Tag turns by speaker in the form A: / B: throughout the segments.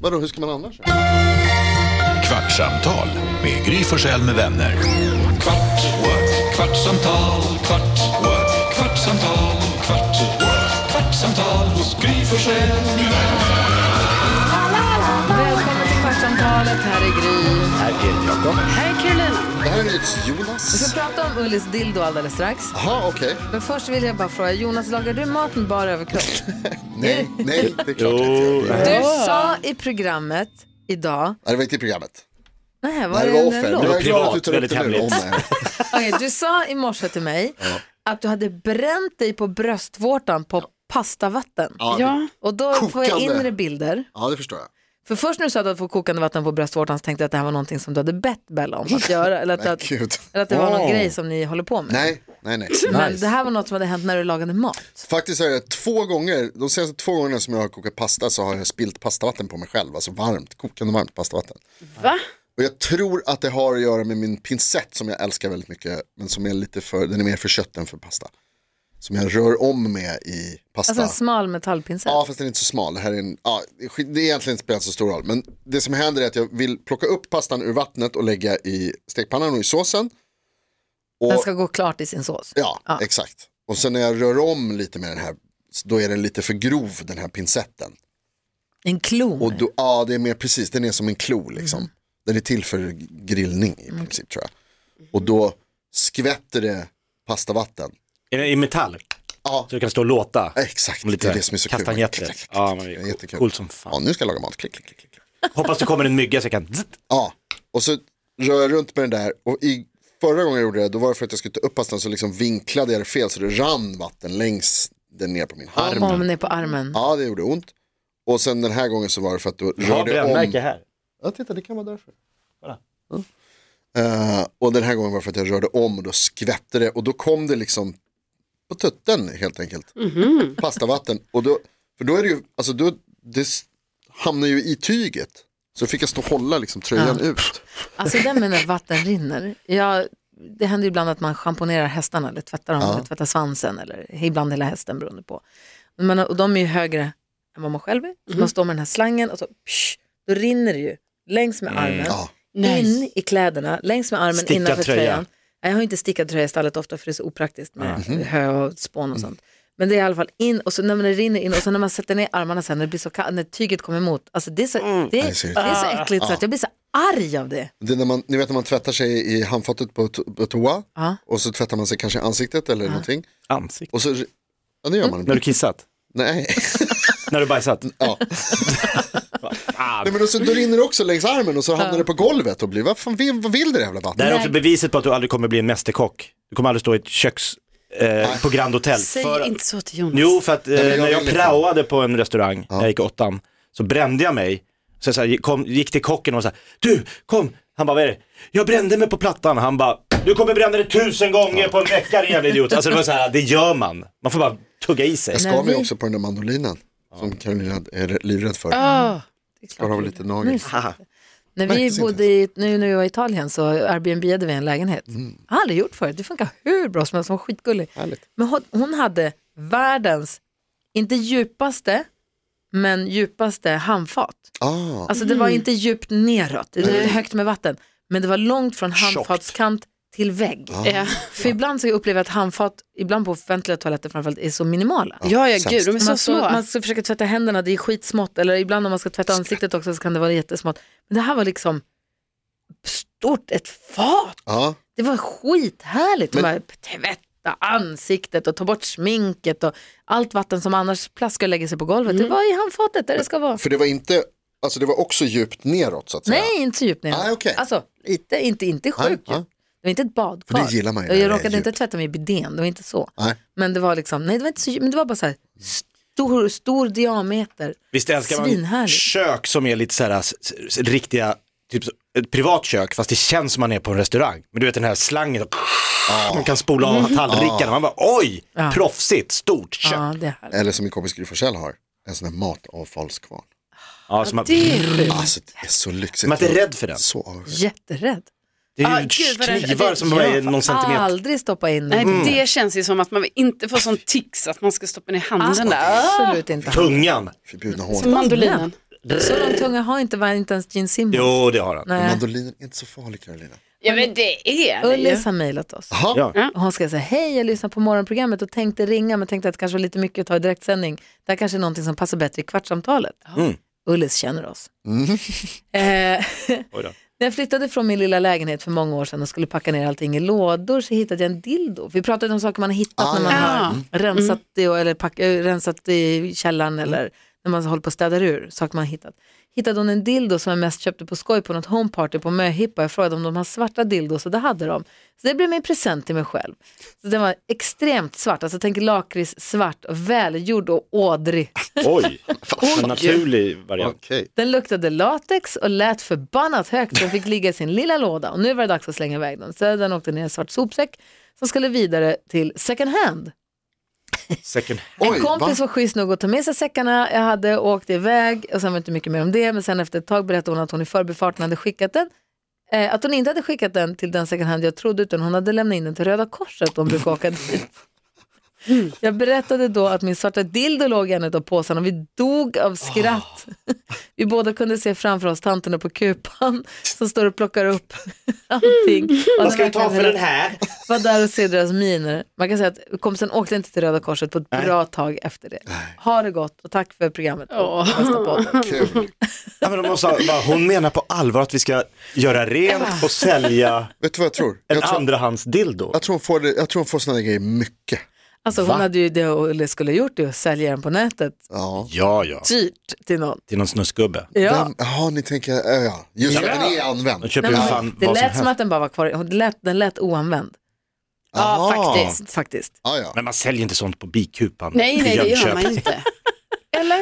A: Vadå, hur ska man annars?
B: Kvartsamtal med Gry Forssell med vänner. Kvart, what? kvartsamtal, kvart, what? kvartsamtal, kvart, what? kvartsamtal hos Gry Forssell med vänner.
C: Välkommen till Kvartsamtalet. Här är Gry.
D: Här är Carolina.
A: Det här är
C: Vi
A: NyhetsJonas.
C: ska prata om Ullis dildo alldeles strax.
A: Jaha, okej.
C: Men först vill jag bara fråga, Jonas, lagar du maten bara överkropp?
A: Nej, nej, det är klart jag inte gör.
C: Du sa i programmet idag...
A: Nej, det var inte i programmet.
C: Nej,
A: Det
C: var
A: här
C: det,
A: var
C: en
A: offen.
C: låt?
A: Jag är glad att du
E: privat,
A: tar upp
E: väldigt
A: det nu.
E: hemligt.
A: Åh, nej.
C: Okej, du sa i morse till mig att du hade bränt dig på bröstvårtan på pastavatten.
A: Ja,
D: Ja,
C: Och då får jag
A: Kokande.
C: inre bilder.
A: ja, det förstår jag.
C: För först när du sa att du hade fått kokande vatten på bröstvårtan så tänkte jag att det här var någonting som du hade bett Bella om att göra. Eller att,
A: Men
C: att,
A: gud.
C: eller att det var någon
E: Åh.
C: grej som ni håller på med.
A: Nej, nej, nej.
C: Men det här var något som hade hänt när du lagade mat.
A: Faktiskt är det två gånger, de senaste två gångerna som jag har kokat pasta så har jag spilt pastavatten på mig själv, alltså varmt, kokande varmt pastavatten.
D: va?
A: Och jag tror att det har att göra med min pincett som jag älskar väldigt mycket, men som är lite för, den är mer för kött än för pasta. Som jag rör om med i pasta.
C: Alltså en smal metallpincett.
A: Ja, fast den är inte så smal. Det, här är en, ja, det är skit- det är egentligen inte spelar så stor roll. Men det som händer är att jag vill plocka upp pastan ur vattnet och lägga i stekpannan och i såsen. Och,
C: Den ska gå klart i sin sås.
A: ja,
C: ja.
A: exakt. Och sen när jag rör om lite med den här, då är den lite för grov den här pincetten.
C: En klon.
A: Och då, ja, det är mer precis, den är som en klo liksom.
E: Mm.
A: Den är till för grillning i princip tror jag. Och då skvätter det pastavatten.
E: Är den i metall?
A: Ja,
E: Så du kan stå och låta?
A: exakt.
E: Lite
A: det är det som är så kul.
E: kastanjetter. Ja, men det
A: Det
E: är
A: är jättekul.
E: Coolt som fan.
A: Ja, nu ska jag laga mat. Klick, klick, klick. klick.
E: Hoppas det kommer en mygga så jag kan... zzzt.
A: Ja, och så rör jag runt med den där och i förra gången jag gjorde det då var det för att jag skulle ta upp pastan så liksom vinklade jag det fel så det rann vatten längs den ner på min arm.
C: Om den är på armen.
A: Ja, det gjorde ont. Och sen den här gången så var det för att då
E: Jag har
A: rörde jag om.
E: brännmärke här.
A: Ja, titta det kan vara därför. Mm. Eh, och den här gången var det för att jag rörde om och då skvätte det och då kom det liksom på tutten helt enkelt. Pastavatten. Och då, för då är det ju, alltså då, det s- hamnar ju i tyget. Så fick jag stå och hålla liksom tröjan ut.
C: Alltså den med när vatten rinner. Jag, det händer ju ibland att man schamponerar hästarna eller tvättar dem, eller tvättar svansen eller ibland hela hästen beroende på. Men, och de är ju högre än vad man själv är.
A: Mm.
C: Så Man står med den här slangen och så psh, då rinner det ju längs med armen,
A: Mm. Ja.
C: in i kläderna, längs med armen
E: Stickad
C: innanför
E: tröja.
C: tröjan. Nej, Jag har inte stickad tröja i stallet ofta för det är så opraktiskt med
E: Mm. Mhm.
C: hö och spån och sånt. Men det är i alla fall in och så när det rinner in och så när man sätter ner armarna sen när det blir så kallt, när tyget kommer emot. Alltså det är så,
D: Mm.
C: det,
A: Jag ser
C: är,
A: det.
C: det är
D: Ah.
C: så äckligt
E: Ah.
C: så att jag blir så arg av det.
A: Det är när man, ni vet när man tvättar sig i handfatet på, to- på toa
C: Ja.
A: och så tvättar man sig kanske i ansiktet eller någonting.
E: Ansikte.
A: Och så, ja det gör man.
E: När du kissat?
A: Nej.
E: När du bajsat?
A: ja. Nej men då, så, då rinner det också längs armen och så hamnar det på golvet och blir, vad fan vill, vad vill det jävla
E: Det
A: vattnet?
E: här är också beviset på att du aldrig kommer bli en mästerkock. Du kommer aldrig stå i ett köks eh, på Grand Hotel.
D: Säg
E: För-
D: inte så till Jonas.
E: Jo, för att eh,
A: Nej, men jag
E: när jag
A: vill inte.
E: praoade på en restaurang när jag gick i åttan så brände jag mig. Så jag så här, kom, gick till kocken och sa, du kom, han bara vad är det? Jag brände mig på plattan, han bara, du kommer bränna dig tusen gånger på en vecka din jävla idiot. Alltså det var så här, det gör man. Man får bara tugga i sig.
A: Jag
C: Nej,
A: skar mig
C: vi-
A: också på den där mandolinen som Carolina är livrädd för.
D: Ah,
A: Skar av lite nagel.
C: Mys. När vi
A: Märktes inte.
C: bodde i, nu när vi var i Italien så Airbnbade vi en lägenhet.
E: Mm.
C: Jag har aldrig gjort förut, det funkar hur bra som helst, hon var skitgullig.
A: Härligt.
C: Men hon, hon hade världens, inte djupaste, men djupaste handfat.
A: Ah,
C: Alltså det
D: Mm.
C: var inte djupt neråt, det var högt med vatten, men det var långt från handfatskant till vägg.
D: ja.
C: För ibland så upplever jag att handfat, ibland på offentliga toaletter framförallt, är så minimala.
D: ja, ja, gud, de är
C: Man,
D: så
C: Ska,
D: små.
C: man ska försöka tvätta händerna, det är skitsmått. Eller ibland om man ska tvätta ansiktet också så kan det vara jättesmått. Men det här var liksom stort, ett fat.
A: ja.
C: Det var skithärligt.
A: Men-
C: Men... Bara, tvätta ansiktet och ta bort sminket och allt vatten som annars plaskar och lägger sig på golvet.
A: Mm.
C: Det var i handfatet där det ska vara.
A: För det var inte, alltså det var också djupt neråt så att säga.
C: Nej, inte så djupt ner.
A: Ah, okej.
C: Alltså, lite, inte, inte sjukt
A: Ah, ah.
C: djupt. Det var inte ett badkar.
A: För det gillar man ju
C: Och
A: när
C: Jag
A: det är
C: råkade inte
A: djupt.
C: tvätta mig i bidén, det var inte så.
A: Nej.
C: Men det var liksom, nej det var inte så djupt, men det var bara så här stor, stor diameter.
E: Visst älskar man
C: Svinhärligt.
E: kök som är lite så här s- s- riktiga, typ så- ett privat kök fast det känns som man är på en restaurang. Men du vet den här slangen, man kan spola av tallrikarna. Man bara oj, proffsigt, stort kök.
C: Ja, det är härligt.
A: Eller som min kompis Gry Forssell har, en sån där matavfallskvarn.
E: Ja, så man,
D: Det är sjukt.
C: Mm.
A: Alltså det är så lyxigt.
E: man är inte rädd för den.
A: Så avundsjuk.
C: Jätterädd.
E: Det är ju
D: Ah, gud, vad det-
E: knivar
D: det-
E: som bara är
D: ja,
E: någon centimeter.
C: Aldrig stoppa in den.
D: Nej,
E: Mm.
D: det känns ju som att man inte får sån tics att man ska stoppa ner handen där. Ah,
E: alltså.
C: Absolut inte.
E: Tungan.
A: Förbjudna
D: Som
A: hål.
D: mandolinen.
C: Så lång tunga har inte, var inte ens Gene Simmons.
E: Jo, det har han.
D: Eh.
C: Nej.
A: Mandolinen är inte så farlig Carolina.
D: Ja men det är det ju.
C: Ullis har mejlat oss.
A: Jaha,
E: Ja.
C: Och hon ska säga, hej jag lyssnar på morgonprogrammet och tänkte ringa men tänkte att det kanske var lite mycket att ta i direktsändning. Det här kanske är någonting som passar bättre i kvartssamtalet. Ullis känner oss. Eh,
E: Oj då.
C: när jag flyttade från min lilla lägenhet för många år sedan och skulle packa ner allting i lådor så hittade jag en dildo. Vi pratade om saker man har hittat
A: Ah,
C: när man
A: ja.
C: har
D: Mm.
C: rensat, det, eller pack, eh, rensat i källaren
E: Mm.
C: eller när man håller på att städa ur saker man har hittat. Hittade hon en dildo som jag mest köpte på skoj på något homeparty på Möhippa. Jag frågade om de har svarta dildos och det hade de. Så det blev min present till mig själv. Så den var extremt svart, alltså tänk lakrits svart och välgjord och ådrig.
E: Oj, en naturlig variant.
A: okej.
C: Den luktade latex och lät förbannat högt så den fick ligga i sin lilla låda och nu var det dags att slänga iväg den. Så den åkte ner i en svart sopsäck som skulle vidare till second hand.
E: Second hand.
A: Oj,
C: en kompis
A: va?
C: var schysst nog att ta med sig säckarna jag hade och åkte iväg och sen var det inte mycket mer om det men sen efter ett tag berättade hon att hon i förbifarten hade skickat den eh, att hon inte hade skickat den till den second hand jag trodde utan hon hade lämnat in den till Röda Korset de brukar åka dit. Jag berättade då att min svarta dildo låg i en av påsarna och vi dog av skratt.
E: Ah.
C: Vi båda kunde se framför oss tanterna på kupan som står och plockar upp allting.
E: Vad ska vi ta för den här?
C: Var där och se deras miner. Man kan säga att kompisen åkte inte till Röda Korset på ett
E: Nej.
C: bra tag efter det. Ha det gott och tack för programmet. och bästa podden.
A: Kul.
E: Ja, men de måste, ha- bara, hon menar på allvar att vi ska göra rent och sälja
A: Vet du vad jag tror?
E: en
A: Jag tror,
E: andrahandsdildo.
A: jag tror hon får, det- jag tror hon får sådana grejer mycket.
C: Alltså
E: Va?
C: hon hade ju det Olle skulle ha gjort, det att sälja den på nätet
A: Ja.
E: Ja, ja.
C: dyrt till någon.
E: Till någon snusgubbe.
C: Ja.
A: Vem, jaha, ni tänker, ja, ja. just det, den är använd.
E: De köper
C: Nej,
E: ju
C: men
E: fan
C: det
E: vad som
C: lät som
E: helst.
C: att den bara var kvar, den lät, den lät oanvänd
A: Jaha.
D: faktiskt.
C: faktiskt.
A: Ja, ja.
E: Men man säljer inte sånt på bikupan.
D: Nej,
E: i
D: nej, det gör
E: Jönköping.
D: man ju inte. Eller?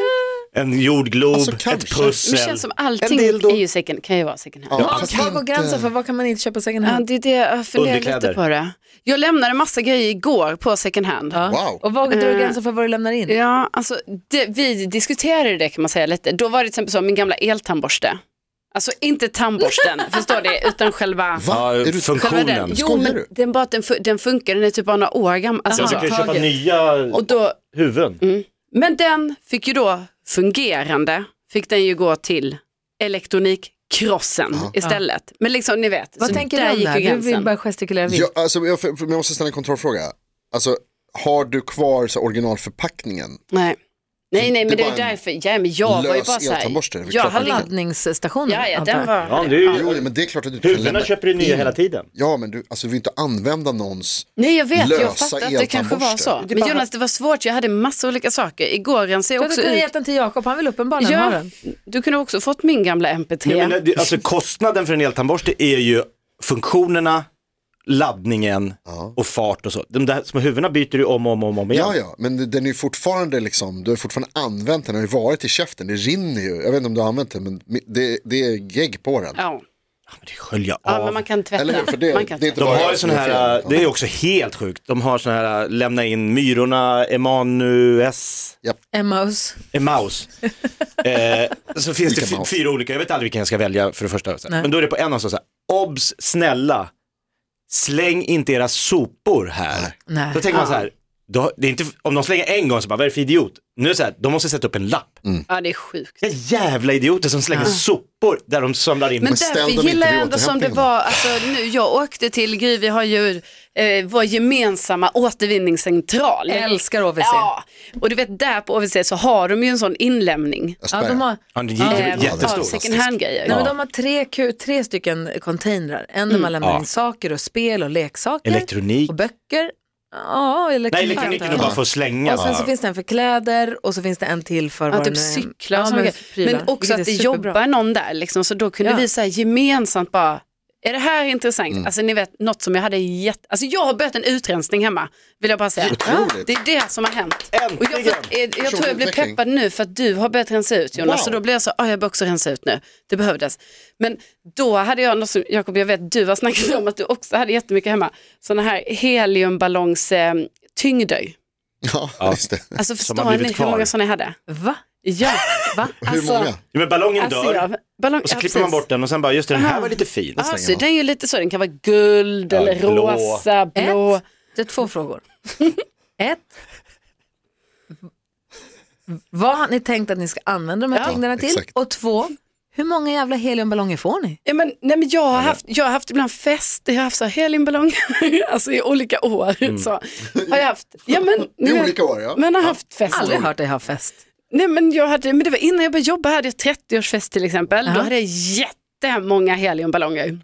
E: En jordglob,
A: Alltså,
E: ett
A: kanske.
D: Men det
E: pussel.
D: känns som allting
E: En dildo.
D: är ju second, kan ju vara second hand.
A: Ja,
C: Vad-
A: fast
C: Vad går
A: inte-
C: gränsen för vad kan man inte köpa second
D: Ja,
C: hand?
D: det är det jag funderar lite
E: Underkläder.
D: på det. Jag lämnade massa grejer igår på second hand.
C: Ja. Eh,
A: Wow.
C: Och vad drar gränsen för vad du lämnar in?
D: Ja, alltså det, vi diskuterade det kan man säga lite. Då var det till exempel så, min gamla eltandborste. Alltså inte tandborsten, förstår det, utan själva...
A: Va?
E: Ja,
A: Är du-
D: själva
E: funktionen.
D: den. Jo,
A: Skojar
D: men
A: du?
D: den, bara, att den, fu- den funkar, den är typ bara några år gammal. Alltså,
E: Jag
C: Jaha.
D: så.
E: ska ju köpa
C: taget.
E: nya
D: och då, mm.
E: huvuden.
D: men den fick ju då fungerande, fick den ju gå till elektronikkrossen istället. Men liksom ni vet,
C: Vad
D: så
C: tänker
D: där
C: du om
D: gick
C: det
D: ju
C: här? Du
D: gränsen.
C: vill bara gestikulera vilt.
A: Ja, alltså, jag, för, för, jag måste ställa en kontrollfråga. Alltså, har du kvar så, här originalförpackningen?
D: Nej. Nej, nej, men
A: Det
D: det
A: är
D: är
A: bara en
D: därför. Ja, men jag var ju
A: lös
D: bara så
A: eltandborste. Det är
D: här.
A: väl
D: Jag
A: klart
D: hade
A: man
D: inte...
C: Laddningsstationen
D: Ja, ja,
C: antar
D: den
C: jag.
D: var...
E: Ja, det är ju-
A: Jo, men det är klart att du inte kan
E: Huvudena
A: lämna
E: köper du nya
A: in.
E: hela tiden.
A: Ja, men du, alltså, du vill inte använda någons...
D: Nej, jag vet. Jag
A: lösa
D: fattar att det kanske var så.
A: eltandborste.
D: Men Jonas, det var svårt. Jag hade massa olika saker. Igår
C: Du
D: rensade jag
C: hade
D: också
C: kunnat
D: ut.
C: gett den till Jakob, han vill uppenbarligen ha
D: Ja,
C: den.
D: du kunde också fått min gamla MP3.
E: Nej, men, det- alltså, kostnaden för en eltandborste är ju funktionerna, laddningen och fart och så. De där små huvudena byter du om och om, och om igen.
A: Ja, ja, men den är ju fortfarande liksom, du har fortfarande använt den, den har ju varit i käften, det rinner ju. Jag vet inte om du har använt den, men det, det är gegg på den.
D: Ja.
E: Men det sköljer
D: ja,
E: av.
D: men man kan tvätta.
A: Eller hur? För det-
D: man kan
A: det är inte-
D: tvätta.
E: De
A: bara
E: har ju
A: jag
E: sån
A: som är
E: här,
A: fel.
E: det är också helt sjukt, de har sån här äh, lämna in myrorna, Emanues,
C: Emmaus.
E: Emaus. eh, så finns det
A: Vilka
E: fy-
A: Maus?
E: fyra olika, jag vet aldrig vilken jag ska välja för det första. Så här.
C: Nej.
E: Men då är det på en av så här, obs, snälla, släng inte era sopor här.
C: Nej.
E: Då tänker man så här, då, det är inte, om de slänger en gång så bara, vad är det för idiot? Nu är det så här, de måste sätta upp en lapp.
D: Ja, det är sjukt.
E: Vilka jävla idioter som slänger sopor där de samlar in.
D: Men
A: ställ dem
D: därför
A: inte
D: gillar jag
A: vid
D: ändå som det
A: återhämtningen.
D: var, alltså nu, jag åkte till Gry, vi har ju eh, vår gemensamma återvinningscentral.
C: Jag älskar OVC.
D: Ja, och du vet där på OVC så har de ju en sån inlämning.
A: Jag
C: Ja,
A: spär.
C: de har,
E: Ja, det
C: Ja,
E: är
D: Eh,
E: jättestor.
D: av second hand-grejer.
C: nej, men de har tre, ku- tre stycken containrar. En där man lämnar
E: Mm. Ja.
C: in saker och spel och leksaker.
E: Elektronik.
C: Och böcker. Ja,
E: Nej,
C: elektronik.
E: elektroniken är bara för att slänga.
C: Och sen så finns det en för kläder och så finns det en till för
D: Ja,
C: vad
D: typ
C: det nu är.
D: cyklar och
C: Ja,
D: såna
C: men,
D: grejer.
C: prylar.
D: Men också
C: Vilket
D: att det
C: är superbra.
D: jobbar någon där, liksom, så då kunde
C: Ja.
D: vi så här gemensamt bara, är det här intressant? Alltså ni vet, något som jag hade jätte... Alltså jag har börjat en utrensning hemma, vill jag bara säga.
A: Otroligt.
D: Det är det som har hänt.
E: Äntligen!
D: Och jag, får, jag, jag tror jag blir
A: utveckling.
D: peppad nu för att du har börjat rensa ut Jonas,
A: Wow.
D: så då blir jag så, ah, jag bör också rensa ut nu, det behövdes. Men då hade jag, något som, Jakob jag vet du har snackat om att du också hade jättemycket hemma, sådana här heliumballongs eh, tyngder.
A: Ja, just det.
D: Alltså
E: har
D: förstår ni
E: blivit
D: hur
E: kvar.
D: många sådana jag hade?
C: Va?
D: Ja, va?
A: Hur
D: Alltså-
A: många?
E: Jo, men ballongen
D: Alltså,
E: dör.
D: ja, ballong,
E: Och så klipper man bort den och sen bara, just det, den här var lite fin.
D: Ja, precis. den är ju lite så, den kan vara guld
E: Ja,
D: eller
E: blå.
D: rosa, blå.
C: Ett. Det är två frågor. Ett. Vad har ni tänkt att ni ska använda de här
D: Ja,
C: pengarna till?
A: exakt.
C: Och två, hur många jävla heliumballonger får ni?
D: Ja, men, nej, men jag, har haft, jag har haft ibland fest, jag har haft så här heliumballonger, alltså i olika år.
E: Mm.
D: Så, har jag haft, ja, men,
A: I
D: nej,
A: olika år, ja.
D: Men har haft fest.
C: Aldrig hört dig ha fest.
D: Nej, men, jag hade, men det var innan jag började jobba, hade jag 30-årsfest till exempel,
C: Ja.
D: då hade jag jättemånga heliumballonger.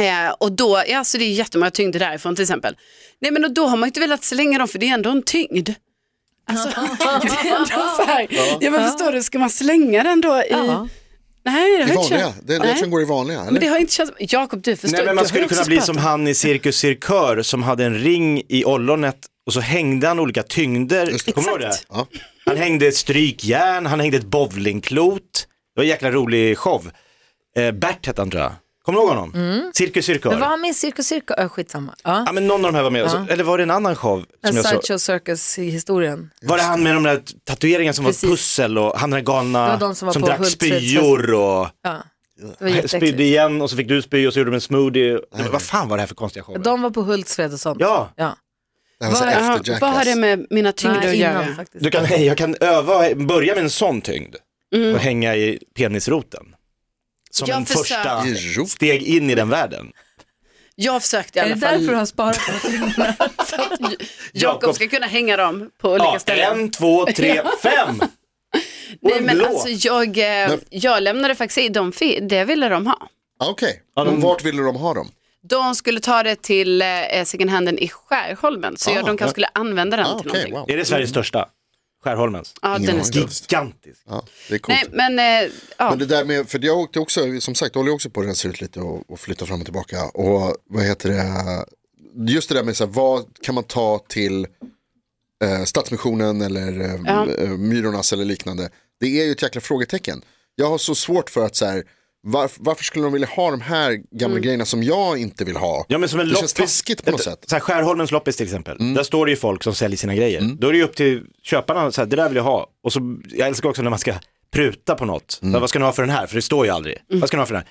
D: Eh, och då, ja, så det är jättemånga tyngder därifrån till exempel. Nej men och då har man inte velat slänga dem för det är ändå en tyngd. Alltså, det är ändå så här, ja. men förstår du, ska man slänga den då i,
C: Ja.
D: nej det
A: Det
D: har
A: är
D: jag inte
A: vanliga,
D: känt.
A: det är
D: Nej.
A: det som går i vanliga. Eller?
D: Men det har inte känts, Jakob du förstår,
E: Nej men man
D: du
E: skulle
D: har ju
E: kunna
D: också
E: bli
D: spöat
E: som
D: dem.
E: han i Cirkus Cirkör som hade en ring i ollonet och så hängde han olika
A: Just
E: tyngder.
A: det.
E: Kommer du ihåg det?
D: Exakt.
A: Ja.
E: Han hängde ett strykjärn, han hängde ett bowlingklot. Det var en jäkla rolig show. Eh, Bert hette han tror jag. Kommer du ihåg honom? Cirkus Cirkör.
C: Men vad har min Cirkus Cirkus, äh, skitsamma. Ja.
E: Ja men någon av de här var med.
C: Ja.
E: Eller var det en annan show?
C: Den
E: Som jag såg?
C: Sideshow Circus-historien.
E: Var det han med de där tatueringarna som
C: Precis.
E: var pussel och han den
C: Det
E: där
C: var
E: galna
C: de som var på
E: drack
C: Hultsfreds
E: spyor och
C: Ja. Det var
E: spydde
C: jätteäckligt.
E: igen och så fick du spy och så gjorde de en smoothie. Det var- Vad fan var det här för konstiga shower?
C: De var på Hultsfred och sånt.
E: Ja.
C: ja.
A: Det här var så
D: Vad-
A: Alltså, efter
D: ja, Vad har
A: Jackass.
D: det med mina tyngder att
C: Nej,
D: göra?
C: innan faktiskt.
E: Du kan, hej, jag kan öva, börja med en sån tyngd och hänga i penisroten. Som
D: Mm. Jag
E: en
D: försöker.
E: första
A: I rot.
E: steg in i den världen.
D: Jag försökte i
C: Är
D: alla
C: det
D: fall.
C: därför du har sparat
D: Jakob
E: Jakob.
D: ska kunna hänga dem på olika
E: Ja,
D: ställen.
E: en, två, tre, fem! Och
D: Nej
E: en
D: men
E: blå.
D: alltså jag, eh, jag lämnade faktiskt i dem, fi- det ville de ha.
A: Ah, Okej, men vart ville de ha dem?
D: De skulle ta det till eh, second handen i Skärholmen,
E: Ah,
D: så jag, de kanske skulle använda den
A: Ah,
D: till
A: Okej,
D: någonting.
A: wow.
E: Är det Sveriges största? Skärholmens?
D: Ja,
A: Ingen
D: den är
A: aning.
D: stor.
E: Gigantisk.
A: Ja, det är coolt.
D: Nej men, eh, ja.
A: Men det där med, för jag åkte också, som sagt, jag håller ju också på att rensa ut lite och, och flytta fram och tillbaka. Och vad heter det, just det där med så här, vad kan man ta till eh, Stadsmissionen eller eh,
D: Ja.
A: eh, Myrornas eller liknande. Det är ju ett jäkla frågetecken. Jag har så svårt för att så här, varf- varför skulle de vilja ha de här gamla
D: Mm.
A: grejerna som jag inte vill ha?
E: Ja, men som en
A: det känns
E: loppis,
A: taskigt på något
E: ett-
A: sätt. Mm.
E: Så här, Skärholmens loppis till exempel, där står det ju folk som säljer sina grejer. Då är det ju upp till köparna, så här, det där vill jag ha. Och så, jag älskar också när man ska pruta på något.
A: Mm.
E: Så här, vad ska ni ha för den här? För det står ju aldrig. Vad ska ni ha för den här?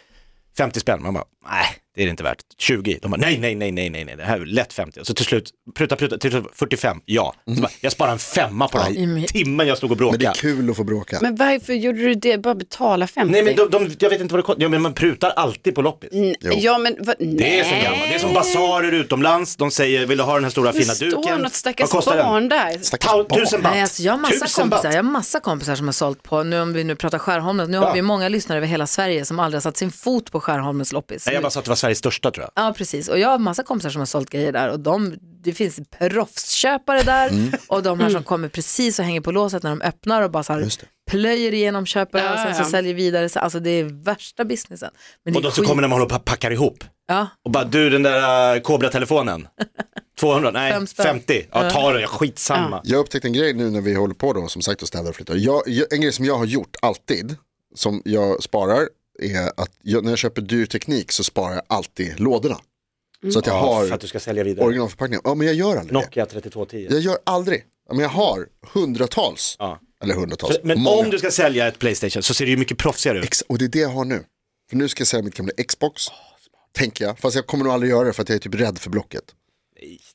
E: 50 spänn, man bara, nej det är det inte värt. 20, de bara, nej, nej, nej, nej, nej, nej, det här är lätt 50. Och så till slut, pruta, pruta, till slut 45, ja. Så bara, jag sparar en femma på den här timmen jag stod och
A: Mm. Men det
E: bråkade.
A: är kul att få bråka.
D: men varför gjorde du det? Bara betala 50?
E: Nej men de, de, jag vet inte vad det kostar, ja, men man prutar alltid på loppis.
A: Jo.
D: Ja men, vad- nej.
E: Det är så gammalt, det är som basarer utomlands, de säger vill du ha den här stora
D: Det
E: fina duken?
D: står något stackars
E: Vad kostar den?
D: barn där.
E: Ta- Tusen baht.
C: Nej, alltså jag har massa
E: Tusen
C: kompisar,
E: baht.
C: jag har massa kompisar som har sålt på, nu om vi nu pratar Skärholmen, nu har
E: Ja.
C: vi många lyssnare över hela Sverige som aldrig har satt sin fot på Skärholmens loppis.
E: Nej, jag bara sa att det var Sveriges största tror jag.
C: Ja, precis. Och jag har massa kompisar som har sålt grejer där och de, det finns proffsköpare där
E: Mm.
C: och de här som kommer precis och hänger på låset när de öppnar och bara så här plöjer igenom köpare och
D: Ja,
C: sen så
D: ja.
C: säljer vidare. Så, Alltså det är värsta businessen. Men
E: Och
C: det är
E: då så
C: skit-
E: kommer när man håller på och packar ihop.
C: Ja,
E: Och bara du den där äh, Kobra-telefonen. 200, nej
C: Fem spänn.
E: 50. Ja ta den, ja, skitsamma.
A: Jag upptäckte en grej nu när vi håller på då, som sagt att städa och flytta. Jag, jag, en grej som jag har gjort alltid, som jag sparar, är att jag, när jag köper dyr teknik så sparar jag alltid lådorna. Så att jag
E: Mm. Ja,
A: har
E: för att du ska sälja vidare.
A: originalförpackningen. Ja men jag gör aldrig det.
E: Nokia 3210.
A: Jag gör aldrig. Ja, Men jag har hundratals.
E: Ja.
A: Eller hundratals.
E: Så- Men
A: Många.
E: om du ska sälja ett Playstation så ser det ju mycket proffsigare ut.
A: Ex- Och det är det jag har nu. För nu ska jag sälja mitt gamla Xbox. tänker jag. Fast jag kommer nog aldrig göra det för att jag är typ rädd för Blocket.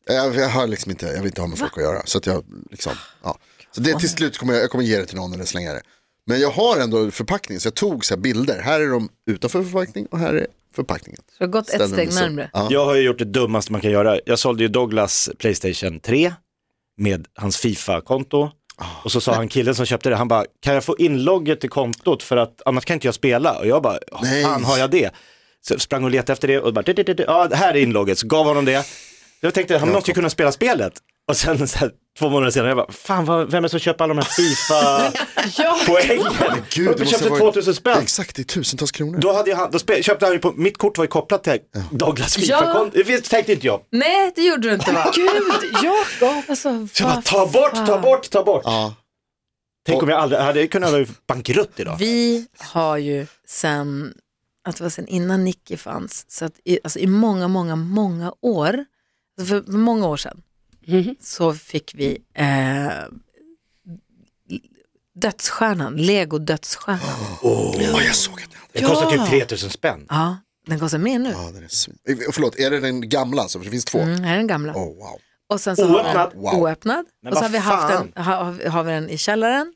A: Jag, jag har liksom inte, jag vill inte ha med folk att göra. Så att jag liksom, ja. Så det till slut kommer jag, jag kommer ge det till någon eller slänga det. Men jag har ändå förpackning så jag tog så här bilder. Här är de utanför förpackning och här är förpackningen.
C: så jag har gått
A: Ställer
C: ett steg
A: mig så.
C: närmre.
A: Ja.
E: Jag har ju gjort det dummaste man kan göra. Jag sålde ju Douglas Playstation 3 med hans Fifa-konto.
A: Ah.
E: Och så sa han killen som köpte det, han bara, kan jag få inlogget till kontot för att annars kan inte jag spela? Och jag bara,
A: Nej.
E: fan har jag det? Så jag sprang och letade efter det och bara, "Du, du, du, du." ja här är inlogget, så gav honom det. Jag tänkte, han måste ju kunna spela spelet. Och sen så här, två månader senare, jag bara, fan vad, vem är det som köper alla de här Fifa-poängen?
A: Gud,
E: Och du köpte
A: ha
E: 2000 spänn.
A: Exakt, det är tusentals kronor.
E: Då, hade jag, han- då spe, köpte han ju på, mitt kort var ju kopplat till Douglas Fifa-konto. Det finns- tänkte inte jag.
C: Nej, det gjorde du inte va?
D: Gud, Jakob.
C: Alltså,
E: Så jag bara,
C: vad
E: ta bort, ta bort, ta bort.
A: Ja.
E: Tänk om jag aldrig jag hade kunnat vara bankrutt idag.
C: Vi har ju sen, att det var sen innan Nicky fanns, så att i, alltså i många, många, många år, alltså för för många år sedan, så fick vi eh, dödsstjärnan, lego dödsstjärnan.
A: Ja, jag såg att ni hade.
E: Det kostar typ 3000 spänn.
C: Ja, den kostar mer nu.
A: eh, Ja, den är svin... Eh, Förlåt, är det den gamla alltså? För det finns två.
C: Mm, här är den gamla.
A: Oh, wow.
C: Och sen så har
E: Oöppnad?
C: vi den
A: Wow.
C: oöppnad.
E: Men
C: och så har
E: vad
C: vi, haft
E: fan.
C: den, har, har- har vi den i källaren,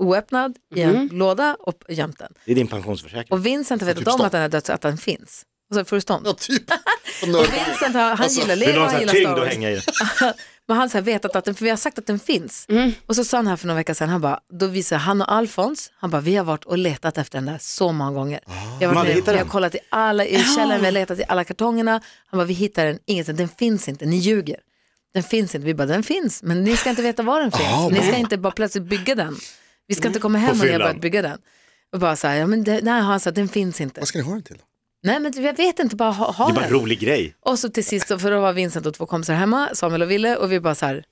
C: oöppnad, i en låda och gömt den.
E: Det är din pensionsförsäkring.
C: Och Vincent har vetat
A: typ
C: om
A: stopp.
C: att den här döds, att den finns. Och så får du stånd.
A: Ja,
C: Och
A: typ. Och nörd-
C: Vincent har, han
A: Alltså,
C: gillar
E: Vill
C: Lego,
E: du ha en
C: han
E: sån här
C: gillar Star
E: tyngd att
C: Wars.
E: hänga i?
C: Men han har vetat att den, för vi har sagt att den finns. Och så sa han här för några veckor sedan, han bara, då visar han och Alfons, han bara, vi har varit och letat efter den där så många gånger. Vi har,
E: Ah. Man
C: varit nere,
E: hittar
C: vi har
E: den.
C: kollat i alla, i källaren, vi har letat i alla kartongerna. Han bara, vi hittar den, ingenstans, den finns inte, ni ljuger. Den finns inte, vi bara, den finns, men ni ska inte veta var den
E: Ah,
C: finns.
A: Jaha,
C: ni ska
A: men-
C: inte bara plötsligt bygga den. Vi ska inte komma hem och ni har
E: Mm. fyllan.
C: börjat bygga den. Och bara så här, ja men det, nej, han sa, den finns inte.
A: Vad ska ni ha den till? då?
C: Nej men jag vet inte, bara ha, ha
E: Det är bara
C: den.
E: en rolig grej.
C: Och så till sist, så- för då var Vincent och två kompisar hemma, Samuel och Ville, och vi bara så här,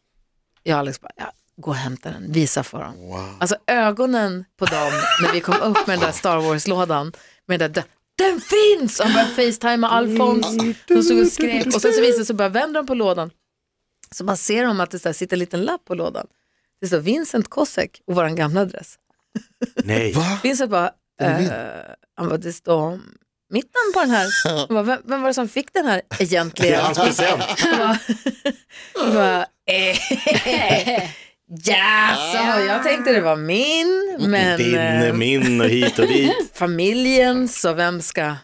C: jag och Alex bara, ja, gå och hämta den, visa för dem. Alltså ögonen på dem när vi kom upp med den där Star Wars-lådan, med den där dö- den finns! Och han började facetima Alfons, de stod och skrek och sen så visade det sig, bara vänder de på lådan, så man ser dem att det så här sitter en liten lapp på lådan. Det står Vincent Kosek och vår gamla adress.
E: Nej.
C: Vincent bara, eh, han bara, det står mitten på den här. Han bara, vem, vem var det som fick den här
E: Det
C: egentligen?
E: är hans present.
C: Jag bara, eh, ja, så jag tänkte det var min, men eh,
E: Din, min och hit och dit.
C: familjen, så vem ska...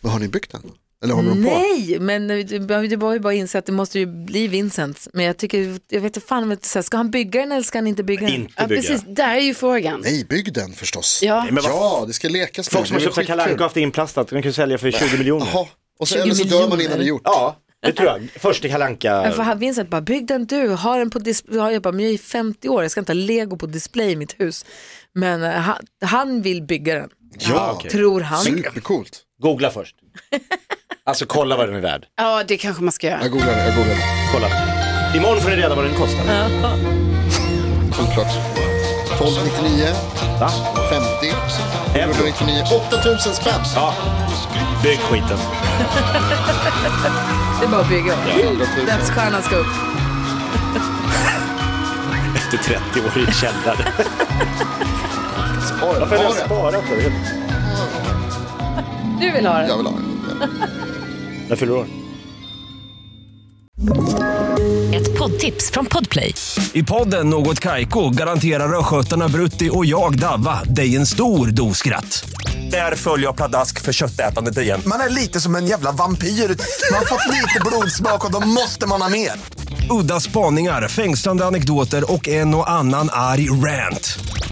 A: Vad har ni byggt den? Eller har ni den på?
C: Nej, men eh, du du var ju bara inse att det måste ju bli Vincent. Men jag tycker, jag vet inte fan, om jag inte- så här, ska han bygga den eller ska han inte bygga den?
E: Inte
D: Ja,
E: bygga.
D: precis, där är ju frågan.
A: Nej, bygg den förstås.
D: Ja.
E: Nej, men vad
A: ja, det ska lekas
E: Folk som har
A: Det är
E: köpt sig
A: skitkul.
E: Kalle Anka och haft det inplastat, de kan ju sälja för 20 miljoner.
A: Jaha, och så,
C: 20
A: eller så dör man
C: miljoner.
A: innan det är gjort.
E: Ja, det tror jag. Först i Kalle
C: Men för
E: Anka.
C: han- Vincent bara, bygg den du, ha den på display. Jag bara, men jag är 50 år, jag ska inte ha lego på display i mitt hus. Men eh, han, han vill bygga den,
A: Ja,
E: okej.
C: tror han.
A: supercoolt.
E: Googla först. Alltså kolla vad den är värd.
D: Ja, det kanske man ska göra.
A: Jag googlar det, jag googlar det.
E: Kolla. Imorgon får ni reda vad den kostar.
A: Solklart. 1299,
E: Va?
A: 50,
E: Euro.
A: 199, 8000 spänn.
E: Ja. Bygg skiten.
C: Det er är bara att bygga. Dödsstjärnan ska upp.
E: Efter 30 år i en källare.
A: Oj,
E: Varför har jag
A: har det?
E: sparat det?
C: Du vill ha den.
A: Jag vill ha den.
E: När fyller du år?
F: Ett poddtips från Podplay.
G: I podden Något Kaiko garanterar östgötarna Brutti och jag, Davva, dig en stor dos skratt. Där följer jag pladask för köttätandet igen.
H: Man är lite som en jävla vampyr. Man har fått lite blodsmak och då måste man ha mer.
G: Udda spaningar, fängslande anekdoter och en och annan arg rant.